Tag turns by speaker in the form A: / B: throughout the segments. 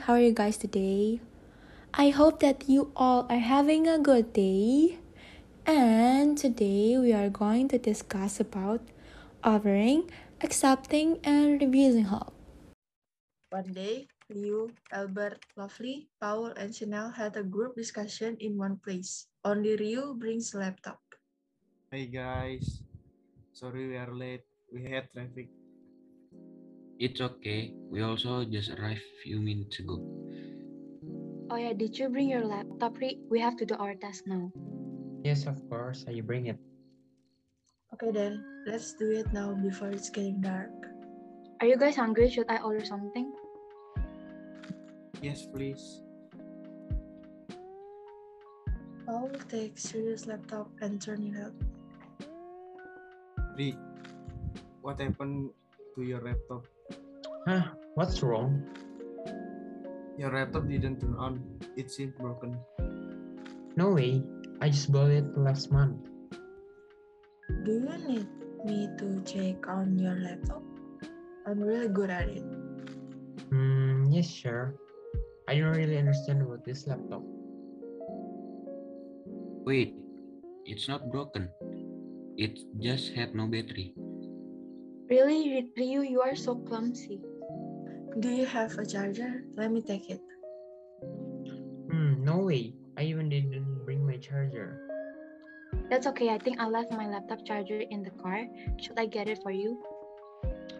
A: How are you guys today? I hope that you all are having a good day. And today we are going to discuss about offering, accepting, and refusing help.
B: One day, Liu, Albert, Lovely, Paul, and Chanel had a group discussion in one place. Only Ryu brings laptop.
C: Hey guys, sorry we are late. We had traffic.
D: It's okay. We also just arrived few minutes ago.
E: Oh yeah, did you bring your laptop, Ri? We have to do our task now.
F: Yes, of course. I bring it.
B: Okay then, let's do it now before it's getting dark.
E: Are you guys hungry? Should I order something?
C: Yes, please.
B: Paul takes Ryu's laptop and turns it up.
C: Rick, what happened to your laptop?
F: Huh? What's wrong?
C: Your laptop didn't turn on. It seemed broken.
F: No way. I just bought it last month.
B: Do you need me to check on your laptop? I'm really good at it.
F: Hmm. Yes, sure. I don't really understand about this laptop.
D: Wait, it's not broken. It just had no battery.
E: Really, Ri- Ryu, you are so clumsy.
B: Do you have a charger? Let me take it.
F: Hmm. No way. I even didn't bring my charger.
E: That's okay. I think I left my laptop charger in the car. Should I get it for you?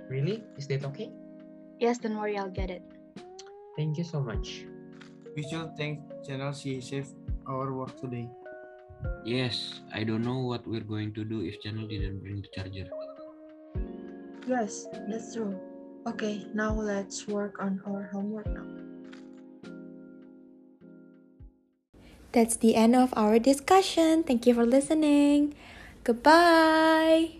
F: Really? Is that okay?
E: Yes, don't worry, I'll get it.
F: Thank you so much.
C: We should thank Channel she saved our work today.
D: Yes, I don't know what we're going to do if Channel didn't bring the charger.
B: Yes, that's true. Okay, now let's work on our homework now.
A: That's the end of our discussion. Thank you for listening. Goodbye.